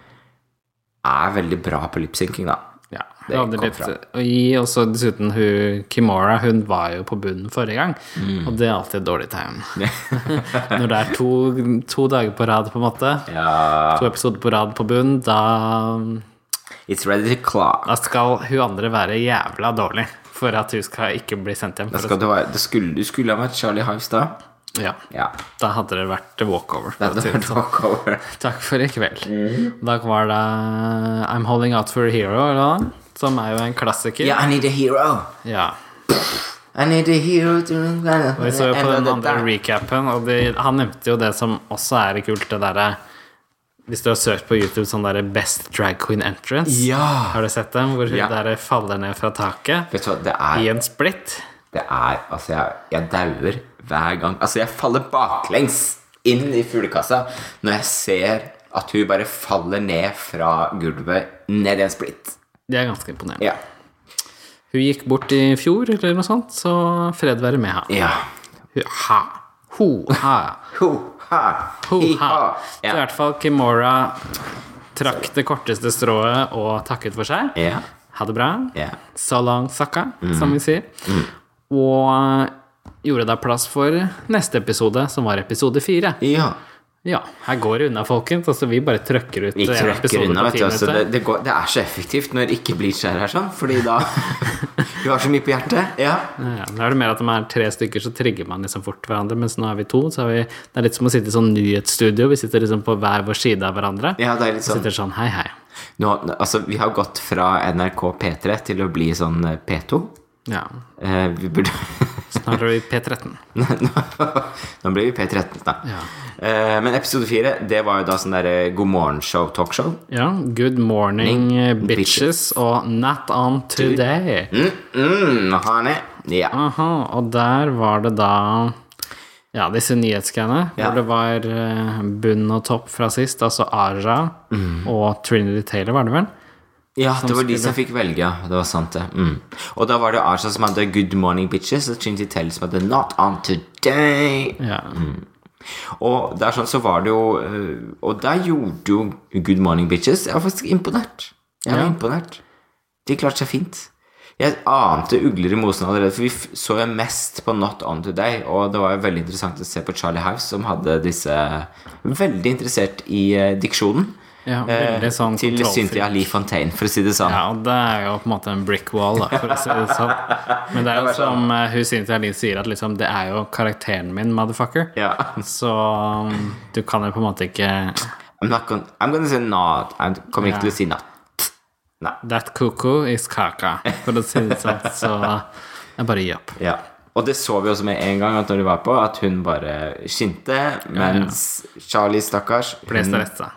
Speaker 1: er veldig bra på lipsynking, da.
Speaker 2: Ja,
Speaker 1: Det
Speaker 2: hun hadde
Speaker 1: kom
Speaker 2: litt
Speaker 1: fra.
Speaker 2: å gi, og så dessuten hun, Kimora, hun var jo på bunnen forrige gang,
Speaker 1: Mm.
Speaker 2: og det er alltid et dårlig tegn. Når det er to, to dager på rad, på en måte,
Speaker 1: Ja
Speaker 2: to episoder på rad på bunn, da,
Speaker 1: It's ready to clock.
Speaker 2: da skal hun andre være jævla dårlig for at hun skal ikke bli sendt hjem.
Speaker 1: Da
Speaker 2: For
Speaker 1: skal det være, det skulle, du skulle ha vært Charlie Hives da.
Speaker 2: å- ja.
Speaker 1: Ja.
Speaker 2: Da hadde det vært walkover.
Speaker 1: Det hadde vært walkover.
Speaker 2: Takk for i kveld.
Speaker 1: Mm.
Speaker 2: Da var det eh, I'm Holding Out for a Hero, eller noe, som er jo en klassiker.
Speaker 1: Yeah, I need a hero.
Speaker 2: Ja.
Speaker 1: I need a hero to
Speaker 2: Og Vi så jo på den andre recapen, og de, han nevnte jo det som også er kult, det derre Hvis du har søkt på YouTube sånn derre Best drag queen entrance,
Speaker 1: Ja!
Speaker 2: har du sett dem? Hvor hun
Speaker 1: Ja.
Speaker 2: derre faller ned fra taket
Speaker 1: Vet du hva, det er
Speaker 2: i en splitt.
Speaker 1: Det er Altså, jeg, jeg dauer hver gang. Altså, jeg faller baklengs inn i fuglekassa når jeg ser at hun bare faller ned fra gulvet ned i en splitt.
Speaker 2: Det er ganske imponerende.
Speaker 1: Ja.
Speaker 2: Hun gikk bort i fjor, eller noe sånt, så fred være med henne.
Speaker 1: ja.
Speaker 2: Ha. Ho, ha.
Speaker 1: Ho, ha,
Speaker 2: Ho,
Speaker 1: hi,
Speaker 2: ha.
Speaker 1: ha. ah,
Speaker 2: Så i
Speaker 1: Ja.
Speaker 2: hvert fall Kimora trakk det korteste strået og takket for seg.
Speaker 1: Ja. Mm.
Speaker 2: Ha det bra.
Speaker 1: Ja.
Speaker 2: So long, sucka, som vi sier. Og eh, gjorde da plass for neste episode, som var episode fire.
Speaker 1: ja.
Speaker 2: Ja, her går det unna, folkens. Altså, vi bare trøkker ut
Speaker 1: Vi
Speaker 2: en
Speaker 1: trekker
Speaker 2: episode
Speaker 1: unna,
Speaker 2: på
Speaker 1: vet du.
Speaker 2: ti
Speaker 1: Altså, det,
Speaker 2: minutter.
Speaker 1: det, går, det er så effektivt når ikke Bleach er her sånn, fordi da Hun har så mye på hjertet. Ja.
Speaker 2: Ja, da er det mer at de er tre stykker, så trigger man liksom fort hverandre. Mens nå er vi to, så er vi Det er litt som å sitte i sånn nyhetsstudio. Vi sitter liksom på hver vår side av hverandre.
Speaker 1: ja, det er litt
Speaker 2: Og
Speaker 1: sånn
Speaker 2: sitter sånn hei, hei.
Speaker 1: Nå, altså, vi har gått fra NRK P3 til å bli sånn eh, P2.
Speaker 2: Ja.
Speaker 1: Eh, vi burde
Speaker 2: Snart er vi P13.
Speaker 1: Nå nå blir vi P13 snart.
Speaker 2: Ja.
Speaker 1: Eh, men episode fire, det var jo da sånn derre God morgen-show, talkshow.
Speaker 2: Ja, good morning, eh,
Speaker 1: Morning,
Speaker 2: bitches, og not on today.
Speaker 1: Mm, mm, honey. Ja.
Speaker 2: Aha, og der var det da ja, disse nyhetsgreiene,
Speaker 1: Ja.
Speaker 2: hvor det var eh, bunn og topp fra sist, altså Aja
Speaker 1: Mm.
Speaker 2: og Trinity Taylor, var det vel?
Speaker 1: ja, det var de som fikk velge, ja. Det var sant, det. Mm. Og da var det Arsha som hadde Good Morning Bitches, og Chinty Tell som hadde Not On Today.
Speaker 2: Ja.
Speaker 1: Mm. Og der sånn så var det jo eh, Og der gjorde jo Good Morning Bitches Jeg var faktisk imponert. Jeg var
Speaker 2: Ja.
Speaker 1: imponert. De klarte seg fint. Jeg ante ugler i mosen allerede, for vi f- så jo mest på Not On Today, og det var jo veldig interessant å se på Charlie House, som hadde disse Veldig interessert i eh, diksjonen.
Speaker 2: ja veldig sånn
Speaker 1: Eh, til
Speaker 2: kontrollfri.
Speaker 1: Cynthia Lee Fontaine, for å si det sånn.
Speaker 2: Ja, og det er jo på en måte en brick wall, da, for å si det sånn. Men det er jo som
Speaker 1: sånn.
Speaker 2: eh, hun Cynthia Lee sier, at liksom, det er jo karakteren min, motherfucker.
Speaker 1: Ja.
Speaker 2: Så um, du kan jo på en måte ikke
Speaker 1: I'm, not gonna, I'm gonna say not. Jeg kommer ikke til å si not.
Speaker 2: That cuckoo is kaka, for å si det sånn. Så jeg bare gir opp.
Speaker 1: Ja. Og det så vi også med en gang at når du var på, at hun bare skinte, mens Charlie, stakkars,
Speaker 2: Ble
Speaker 1: hun
Speaker 2: stressa.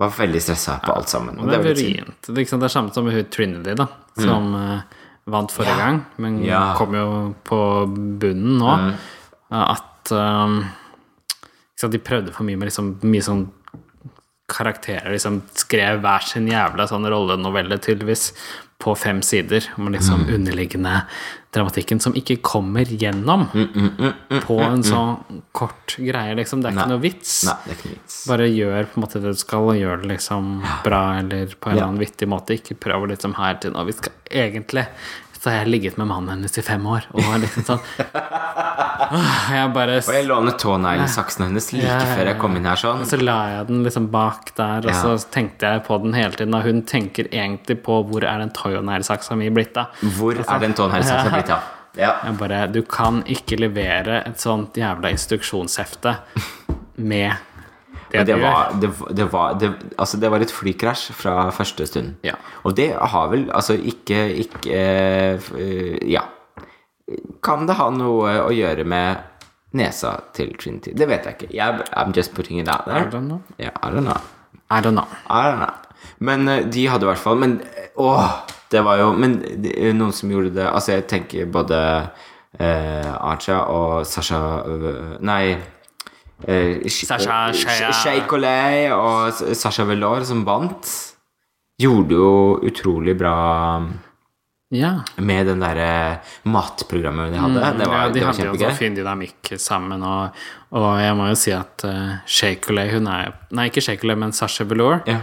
Speaker 1: var veldig stressa på alt sammen. Og
Speaker 2: Det
Speaker 1: det
Speaker 2: er
Speaker 1: var litt synd.
Speaker 2: vrient. Det, er ikke sant, det er samme som med hun Trinity, da, som eh, vant forrige gang, men
Speaker 1: Mm. Ja. Mm.
Speaker 2: kom jo på bunnen nå. At eh, ikke sant, de prøvde for mye med liksom, mye sånn karakterer. Liksom skrev hver sin jævla sånn rollenovelle, tydeligvis, på fem sider om liksom
Speaker 1: Mm.
Speaker 2: underliggende dramatikken som ikke kommer gjennom
Speaker 1: Mm,
Speaker 2: på en sånn kort greie, liksom. Det er ikke noe vits.
Speaker 1: Nei, det er ikke noe vits.
Speaker 2: Bare gjør på en måte det du skal, og gjør det liksom bra eller på en eller annen vittig måte. Ikke prøv å liksom her til nå. Vi skal egentlig så har jeg ligget med mannen hennes i fem år. Og var liksom sånn Åh, Jeg bare
Speaker 1: Og jeg låner tåneglesaksen hennes like
Speaker 2: Ja, ja, ja.
Speaker 1: før jeg kom inn her sånn.
Speaker 2: Og så la jeg den liksom bak der, og så tenkte jeg på den hele tiden. Og hun tenker egentlig på hvor er den toyonail-saksa mi blitt av.
Speaker 1: Hvor er den tåneglesaksen blitt av? Ja.
Speaker 2: Jeg bare Du kan ikke levere et sånt jævla instruksjonshefte med det,
Speaker 1: Det
Speaker 2: du gjør.
Speaker 1: var, det, det, var, det, altså det var et flykrasj fra første stund.
Speaker 2: Ja.
Speaker 1: Og det har vel altså ikke, ikke eh, f- eh, Ja. Kan det ha noe å gjøre med nesa til Trinity? Det vet jeg ikke. Jeg, I'm just putting it out there.
Speaker 2: I don't know.
Speaker 1: Ja, I don't know.
Speaker 2: I don't know.
Speaker 1: I don't know. Men eh, de hadde i hvert fall Men eh, åh, det var jo Men de- eh, noen som gjorde det Altså, jeg tenker både eh, Arja og Sasha eh, Nei eh, Sh-
Speaker 2: Sasha
Speaker 1: eh,
Speaker 2: Shea.
Speaker 1: Sh- Shea Coley og S- Sasha Velour, som vant, gjorde jo utrolig bra eh,
Speaker 2: Ja.
Speaker 1: med den derre matprogrammet de hadde. Det var,
Speaker 2: Mm, ja, de
Speaker 1: det var
Speaker 2: hadde jo så
Speaker 1: kjempegøy.
Speaker 2: fin dynamikk sammen, og, og jeg må jo si at uh, Shakeley, hun er jo- Nei, ikke Shakeley, men Sasha Velour.
Speaker 1: Ja.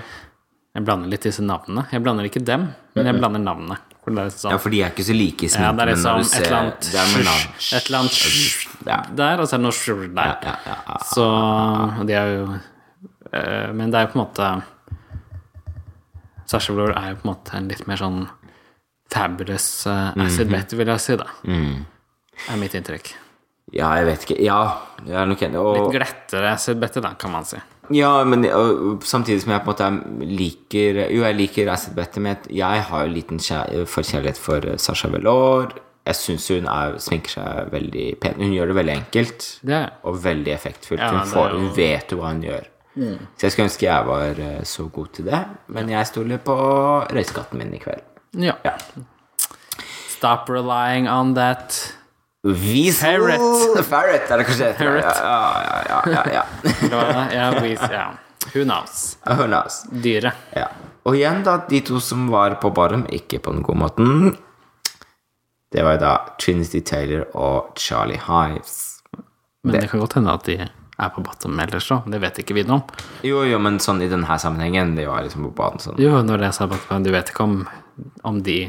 Speaker 2: Jeg blander litt disse navnene. Jeg blander ikke dem, men jeg blander navnene. For det er liksom sånn
Speaker 1: ja, for de er ikke så like i
Speaker 2: Ja,
Speaker 1: sminken.
Speaker 2: det
Speaker 1: men
Speaker 2: er
Speaker 1: når
Speaker 2: liksom
Speaker 1: du
Speaker 2: et
Speaker 1: ser-
Speaker 2: eller annet
Speaker 1: det er med navn.
Speaker 2: sj- Et eller annet sj-
Speaker 1: Ja.
Speaker 2: der, og så er det noe sj- der.
Speaker 1: ja, ja, ja.
Speaker 2: Så og de er jo eh, Men det er jo på en måte Sasha Blor er jo på en måte en litt mer sånn fabulous eh,
Speaker 1: Mm-hmm.
Speaker 2: acid bet, vil jeg si, da.
Speaker 1: Mm.
Speaker 2: Er mitt inntrykk.
Speaker 1: ja, jeg vet ikke. Ja, jeg er nok enig. Og,
Speaker 2: Litt glettere acid bette, da, kan man si.
Speaker 1: Ja, men ø, samtidig som jeg på en måte er- liker Jo, jeg liker Acid Betty, men jeg har jo liten kjæ- forkjærlighet for ø, Sasha Velour. Jeg syns hun er, sminker seg veldig pen. Hun gjør det veldig enkelt
Speaker 2: Det er
Speaker 1: og veldig effektfullt.
Speaker 2: Ja,
Speaker 1: hun,
Speaker 2: det
Speaker 1: får,
Speaker 2: er jo-
Speaker 1: hun vet jo hva hun gjør. Så jeg skulle ønske jeg var ø, så god til det, men jeg stoler på røyskatten min i kveld.
Speaker 2: Ja. Stop relying on that.
Speaker 1: Vi
Speaker 2: Ferret.
Speaker 1: Ferret, er det kanskje det?
Speaker 2: Ferret.
Speaker 1: Ja, ja, ja. ja, ja.
Speaker 2: Eller hva det er. Ja, we- ja. Who knows?
Speaker 1: Who knows?
Speaker 2: Dyret.
Speaker 1: Ja. Og igjen, da, de to som var på Barham, ikke på den gode måten. Det var jo da Trinity Taylor og Charlie Hives.
Speaker 2: Men det. kan godt hende at de er på bottom ellers òg. Det vet ikke vi noe om.
Speaker 1: Jo, jo, men sånn i denne sammenhengen, det var liksom på banen sånn.
Speaker 2: Jo, når det er så bottom, du vet ikke om, om de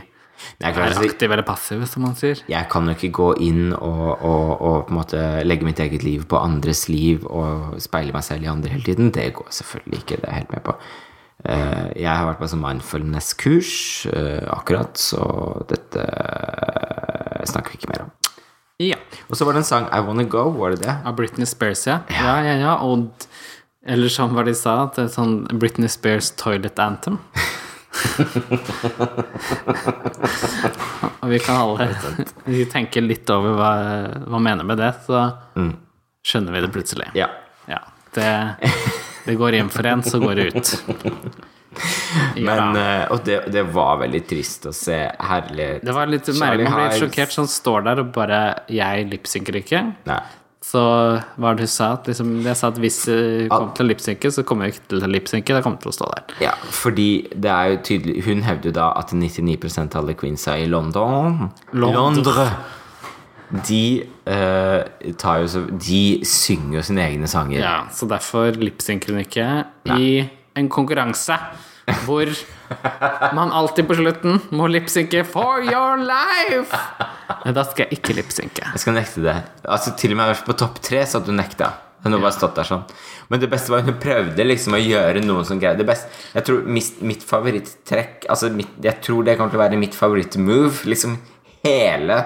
Speaker 1: Jeg kan, jo
Speaker 2: er
Speaker 1: ikke si-
Speaker 2: aktive eller passive, som man sier.
Speaker 1: jeg kan jo ikke gå inn og, og, og på en måte legge mitt eget liv på andres liv og speile meg selv i andre hele tiden. Det går selvfølgelig ikke, det er jeg helt med på. Eh, Jeg har vært på sånn mindfulness-kurs eh, akkurat, så dette eh, snakker vi ikke mer om.
Speaker 2: Ja.
Speaker 1: Og så var det en sang I Wanna Go, var det det?
Speaker 2: Av Britney Spears, ja. Ja, ja, ja. Og d- Eller som hva de sa, at det er sånn Britney Spears toilet anthem. Og vi kan alle Hvis vi tenker litt over hva, hva mener med det, så skjønner vi det plutselig.
Speaker 1: Mm. Ja.
Speaker 2: Ja, det, det går inn for en, så går det ut. Ja,
Speaker 1: Men, eh, og det, det var veldig trist å se. Herlig.
Speaker 2: det var litt merkelig. Man blir sjokkert sånn står der og bare Jeg lipsynker ikke.
Speaker 1: Nei.
Speaker 2: Så hva var det du sa? At liksom, jeg sa at hvis du kom til å lipsynke, så kommer jeg ikke til å lipsynke. Jeg kommer til å stå der.
Speaker 1: Ja, fordi det er jo tydelig Hun hevder jo da at 99 av alle queensa i London
Speaker 2: Londres.
Speaker 1: De eh, tar jo så De synger jo sine egne sanger.
Speaker 2: Ja, så derfor lipsynker hun ikke i en konkurranse hvor man alltid på slutten må lipsynke for your life! Men da skal jeg ikke lipsynke.
Speaker 1: Jeg skal nekte det. Altså Til og med på topp tre så hadde hun nekta. Hun har bare stått der sånn. Men det beste var hun prøvde liksom å gjøre noen som greide det best. Jeg tror mis- mitt favorittrekk Altså mitt, Jeg tror det kommer til å være mitt favorittmove. Liksom hele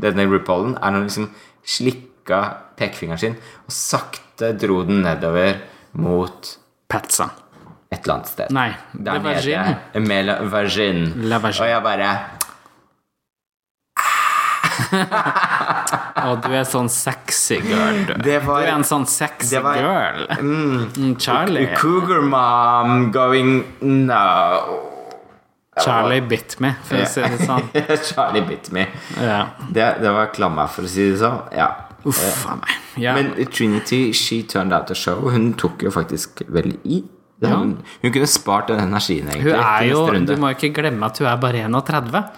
Speaker 1: denne RuPaulen er når hun liksom slikka pekefingeren sin og sakte dro den nedover mot
Speaker 2: Patsa.
Speaker 1: et eller annet sted.
Speaker 2: Nei,
Speaker 1: Der
Speaker 2: det var gin.
Speaker 1: nede. Med la vagin.
Speaker 2: La vagin.
Speaker 1: Og jeg bare
Speaker 2: Og du er sånn sexy girl, du.
Speaker 1: Det var-
Speaker 2: du er en sånn sexy
Speaker 1: det var-
Speaker 2: girl. Mm, Charlie.
Speaker 1: Cougar mom going no.
Speaker 2: Charlie bit me, for å si det sånn.
Speaker 1: Charlie bit me.
Speaker 2: Ja.
Speaker 1: Det, det var klamma, for å si det sånn. Ja.
Speaker 2: Uff a meg. Ja.
Speaker 1: Men Trinity, she turned out the show. Hun tok jo faktisk veldig i. Det hadde Hun, hun kunne spart den energien, egentlig.
Speaker 2: hun er
Speaker 1: til
Speaker 2: jo
Speaker 1: neste
Speaker 2: Du
Speaker 1: runde.
Speaker 2: må jo ikke glemme at hun er bare 31.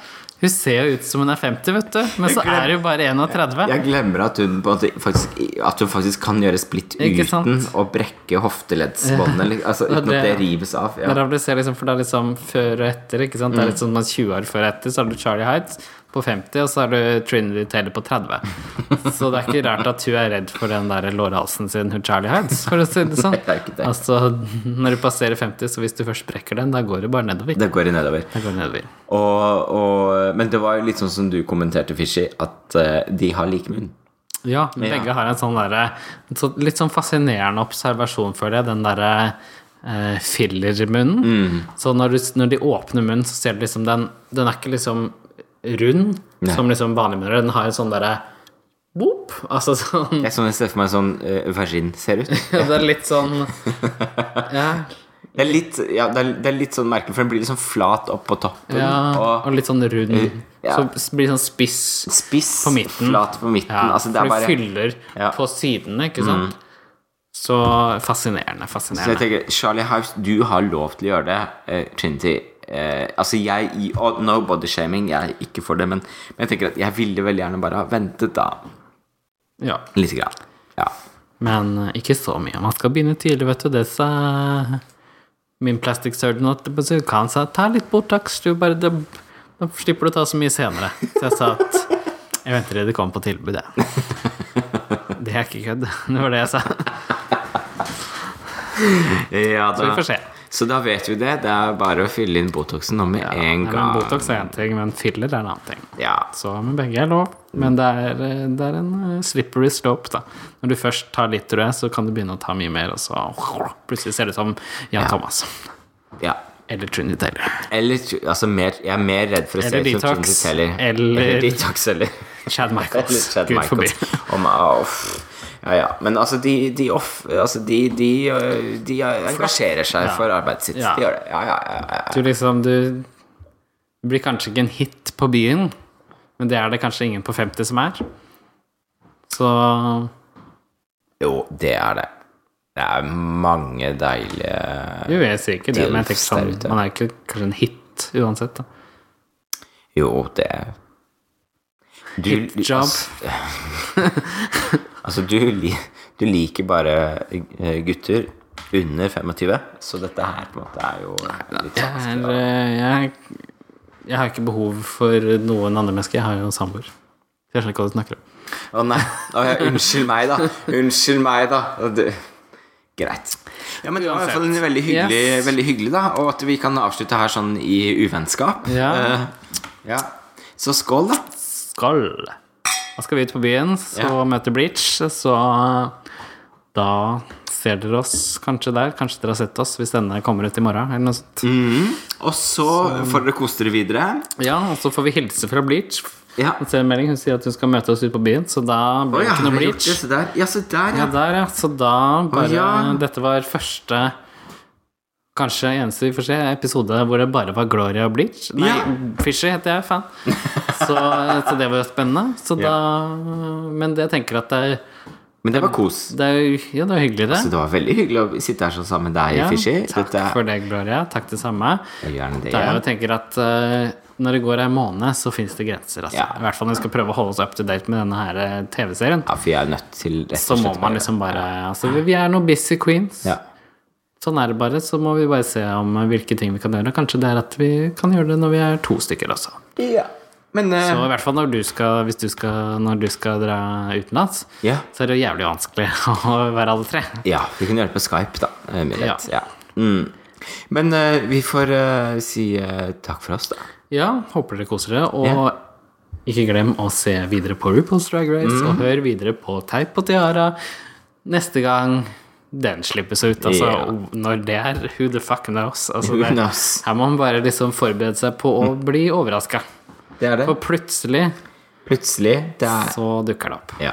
Speaker 2: Hun ser jo ut som hun er 50, vet du. Men så er hun bare 31.
Speaker 1: Jeg glemmer at hun, på en måte faktisk, at hun faktisk kan gjøre splitt
Speaker 2: Ikke
Speaker 1: uten
Speaker 2: sant?
Speaker 1: å brekke hofteleddsbåndet. eller- Altså,
Speaker 2: Og
Speaker 1: uten at det
Speaker 2: det-
Speaker 1: rives av. Ja. Mm.
Speaker 2: Derav du ser liksom, for det er liksom før og etter, ikke sant. Det er litt sånn man 20 år før og etter, så har du Charlie Heights. på 50, og så er du Trinity Taylor på 30. Så det er ikke rart at hun er redd for den der lårhalsen sin, hun Charlie Hides, for å si det sånn.
Speaker 1: Det er ikke det.
Speaker 2: Altså, når du passerer 50, så hvis du først brekker den, da går det bare nedover.
Speaker 1: Det går i nedover.
Speaker 2: Det går nedover.
Speaker 1: Og, og, men det var jo litt sånn som du kommenterte, Fishy, at eh, de har like munn.
Speaker 2: Ja, begge har en sånn derre en sånn- Litt sånn fascinerende observasjon, føler jeg. Den derre eh, fillermunnen.
Speaker 1: Mm.
Speaker 2: Så når, du, når de åpner munnen, så ser du liksom den Den er ikke liksom rund, som liksom vanlige munner. Den har en sånn derre Boop! Altså sånn
Speaker 1: Jeg, sånn, jeg ser for meg sånn eh, vagin ser ut.
Speaker 2: Det er litt sånn Ja.
Speaker 1: Det er litt, ja, det er, det er litt sånn merkelig, for den blir liksom flat opp på toppen.
Speaker 2: ja
Speaker 1: Og
Speaker 2: og litt sånn rund.
Speaker 1: Ja.
Speaker 2: Så s- blir det sånn spiss.
Speaker 1: spiss,
Speaker 2: På midten.
Speaker 1: flat på midten.
Speaker 2: Ja,
Speaker 1: altså, det er
Speaker 2: for du
Speaker 1: bare,
Speaker 2: fyller
Speaker 1: Ja. Mm.
Speaker 2: på sidene, ikke sant? Så fascinerende,
Speaker 1: så
Speaker 2: fascinerende.
Speaker 1: jeg tenker, Charlie House, du har lov til å gjøre det. eh, Trinity eh, Altså, jeg i- Og no body shaming, jeg er ikke for det, men, men jeg tenker at jeg ville veldig gjerne bare ha ventet, da.
Speaker 2: Ja.
Speaker 1: Lite grann. Ja.
Speaker 2: Men eh, ikke så mye. Man skal begynne tidlig, vet du. Det sa min plastic surgeon at det betyr- kan sa ta litt Botox, du bare det, Da slipper du å ta så mye senere. Så jeg sa at jeg venter til det kommer på tilbud, jeg. Det er ikke kødd. Det var det jeg sa.
Speaker 1: Ja,
Speaker 2: Så vi får se.
Speaker 1: Så da vet vi det. Det er bare å fylle inn Botoxen nå med en
Speaker 2: Nei,
Speaker 1: gang.
Speaker 2: men Botox er én ting, men filler er en annen ting.
Speaker 1: Ja.
Speaker 2: Så men begge er lov. Men det er, eh, det er en eh, slippery slope, da. Når du først tar litt, tror jeg, så kan du begynne å ta mye mer, og så plutselig ser du ut som Jan Thomas.
Speaker 1: ja.
Speaker 2: Eller Trinity Taylor.
Speaker 1: Eller tr- altså, mer, jeg er mer redd for å se
Speaker 2: Eller
Speaker 1: ut som Trinity
Speaker 2: detox,
Speaker 1: Taylor.
Speaker 2: eller-
Speaker 1: detox, eller,
Speaker 2: Chad
Speaker 1: eller
Speaker 2: Michaels.
Speaker 1: Chad
Speaker 2: Gud
Speaker 1: Michaels.
Speaker 2: forbi.
Speaker 1: Om, ah, uff. Ja, ja. Men altså, de, de, off, altså, de, de, øh, de engasjerer seg for arbeidet sitt.
Speaker 2: Ja.
Speaker 1: De gjør det. Ja, ja, ja, ja.
Speaker 2: Du liksom, du du blir kanskje ikke en hit på byen, men det er det kanskje ingen på 50 som er. Så
Speaker 1: Jo, det er det. Det er mange deilige
Speaker 2: jo, jeg sier ikke det, men jeg tenker sånn,
Speaker 1: Dilfs der ute.
Speaker 2: man er ikke kanskje en hit uansett, da.
Speaker 1: Jo, det du,
Speaker 2: Hip job.
Speaker 1: Altså, altså du, li- du liker bare eh, gutter under 25, så dette her på en måte er jo litt sånn.
Speaker 2: Jeg, er, eh, jeg, jeg har ikke behov for noen andre mennesker, jeg har jo en samboer. Så Jeg skjønner ikke hva du snakker om.
Speaker 1: Å nei. Å, ja, unnskyld meg, da. Unnskyld meg, da. Og Du. Greit. Ja, men Det var i hvert fall en veldig hyggelig,
Speaker 2: Yes.
Speaker 1: veldig hyggelig, da. Og at vi kan avslutte her sånn i uvennskap.
Speaker 2: Ja.
Speaker 1: Eh, ja. Så skål, da.
Speaker 2: Skål! Da skal vi ut på byen, så
Speaker 1: Ja.
Speaker 2: møter Bleach, så da ser dere oss kanskje der. Kanskje dere har sett oss hvis denne kommer ut i morgen, eller noe sånt.
Speaker 1: Mm. Og så får dere kose dere videre.
Speaker 2: Ja, og så får vi hilse fra Bleach.
Speaker 1: Ja.
Speaker 2: Jeg ser en melding, Hun sier at hun skal møte oss ute på byen, så da
Speaker 1: Å
Speaker 2: blir det
Speaker 1: ja,
Speaker 2: ikke noe
Speaker 1: har vi gjort
Speaker 2: Bleach.
Speaker 1: det? Se der. Ja, se der,
Speaker 2: Ja,
Speaker 1: ja.
Speaker 2: der, ja. Så da bare
Speaker 1: ja.
Speaker 2: Dette var første Kanskje eneste vi får se, episode hvor det bare var Gloria og Bleach. Nei,
Speaker 1: Ja.
Speaker 2: Fishy heter jeg, fan. Så, så det var jo spennende. Så da Men jeg tenker at det er,
Speaker 1: Men det var kos.
Speaker 2: det er jo ja, det er hyggelig, det.
Speaker 1: Så det var veldig hyggelig å sitte her sånn sammen med deg,
Speaker 2: Ja,
Speaker 1: Altså, Fishy.
Speaker 2: takk
Speaker 1: Dette
Speaker 2: for det, Gloria. Takk det samme.
Speaker 1: er gjerne det
Speaker 2: Det er jo,
Speaker 1: igjen.
Speaker 2: jeg tenker at eh, når det går ei måned, så fins det grenser. Altså.
Speaker 1: Ja.
Speaker 2: I hvert fall når vi skal prøve å holde oss up to date med denne her eh, TV-serien.
Speaker 1: Ja, for jeg er nødt til rett og
Speaker 2: Så må
Speaker 1: slett
Speaker 2: man
Speaker 1: bare-
Speaker 2: liksom bare Altså, vi vi er noen busy queens.
Speaker 1: ja.
Speaker 2: Sånn er det bare, så må vi bare se om eh, hvilke ting vi kan gjøre. Kanskje det er at vi kan gjøre det når vi er to stykker også.
Speaker 1: ja. Men eh,
Speaker 2: Så i hvert fall når du skal, hvis du skal, når du skal dra utenlands,
Speaker 1: Ja.
Speaker 2: så er det jo jævlig vanskelig å være alle tre.
Speaker 1: Ja, vi kunne gjøre det på Skype, da. eh, Med
Speaker 2: Ja.
Speaker 1: rett. Ja. Mm. Men eh, vi får eh, si eh, takk for oss, da.
Speaker 2: Ja, håper dere koser dere, og ikke glem å se videre på RuPaul's Drag Race,
Speaker 1: Mm.
Speaker 2: og hør videre på Teip og Tiara neste gang den slippes ut. Altså,
Speaker 1: Ja.
Speaker 2: og når det er, who the fuck knows? Altså,
Speaker 1: Who
Speaker 2: det,
Speaker 1: knows? Mm.
Speaker 2: her må man bare liksom forberede seg på å bli overraska.
Speaker 1: Det er
Speaker 2: For plutselig
Speaker 1: Plutselig. Det er
Speaker 2: så dukker det opp
Speaker 1: Ja.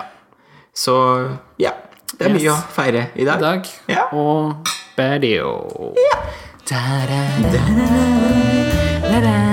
Speaker 1: Så ja. Det er mye å feire i
Speaker 2: i
Speaker 1: dag.
Speaker 2: dag.
Speaker 1: Ja.
Speaker 2: Og Badio.
Speaker 1: Da, da, da, da, da, da.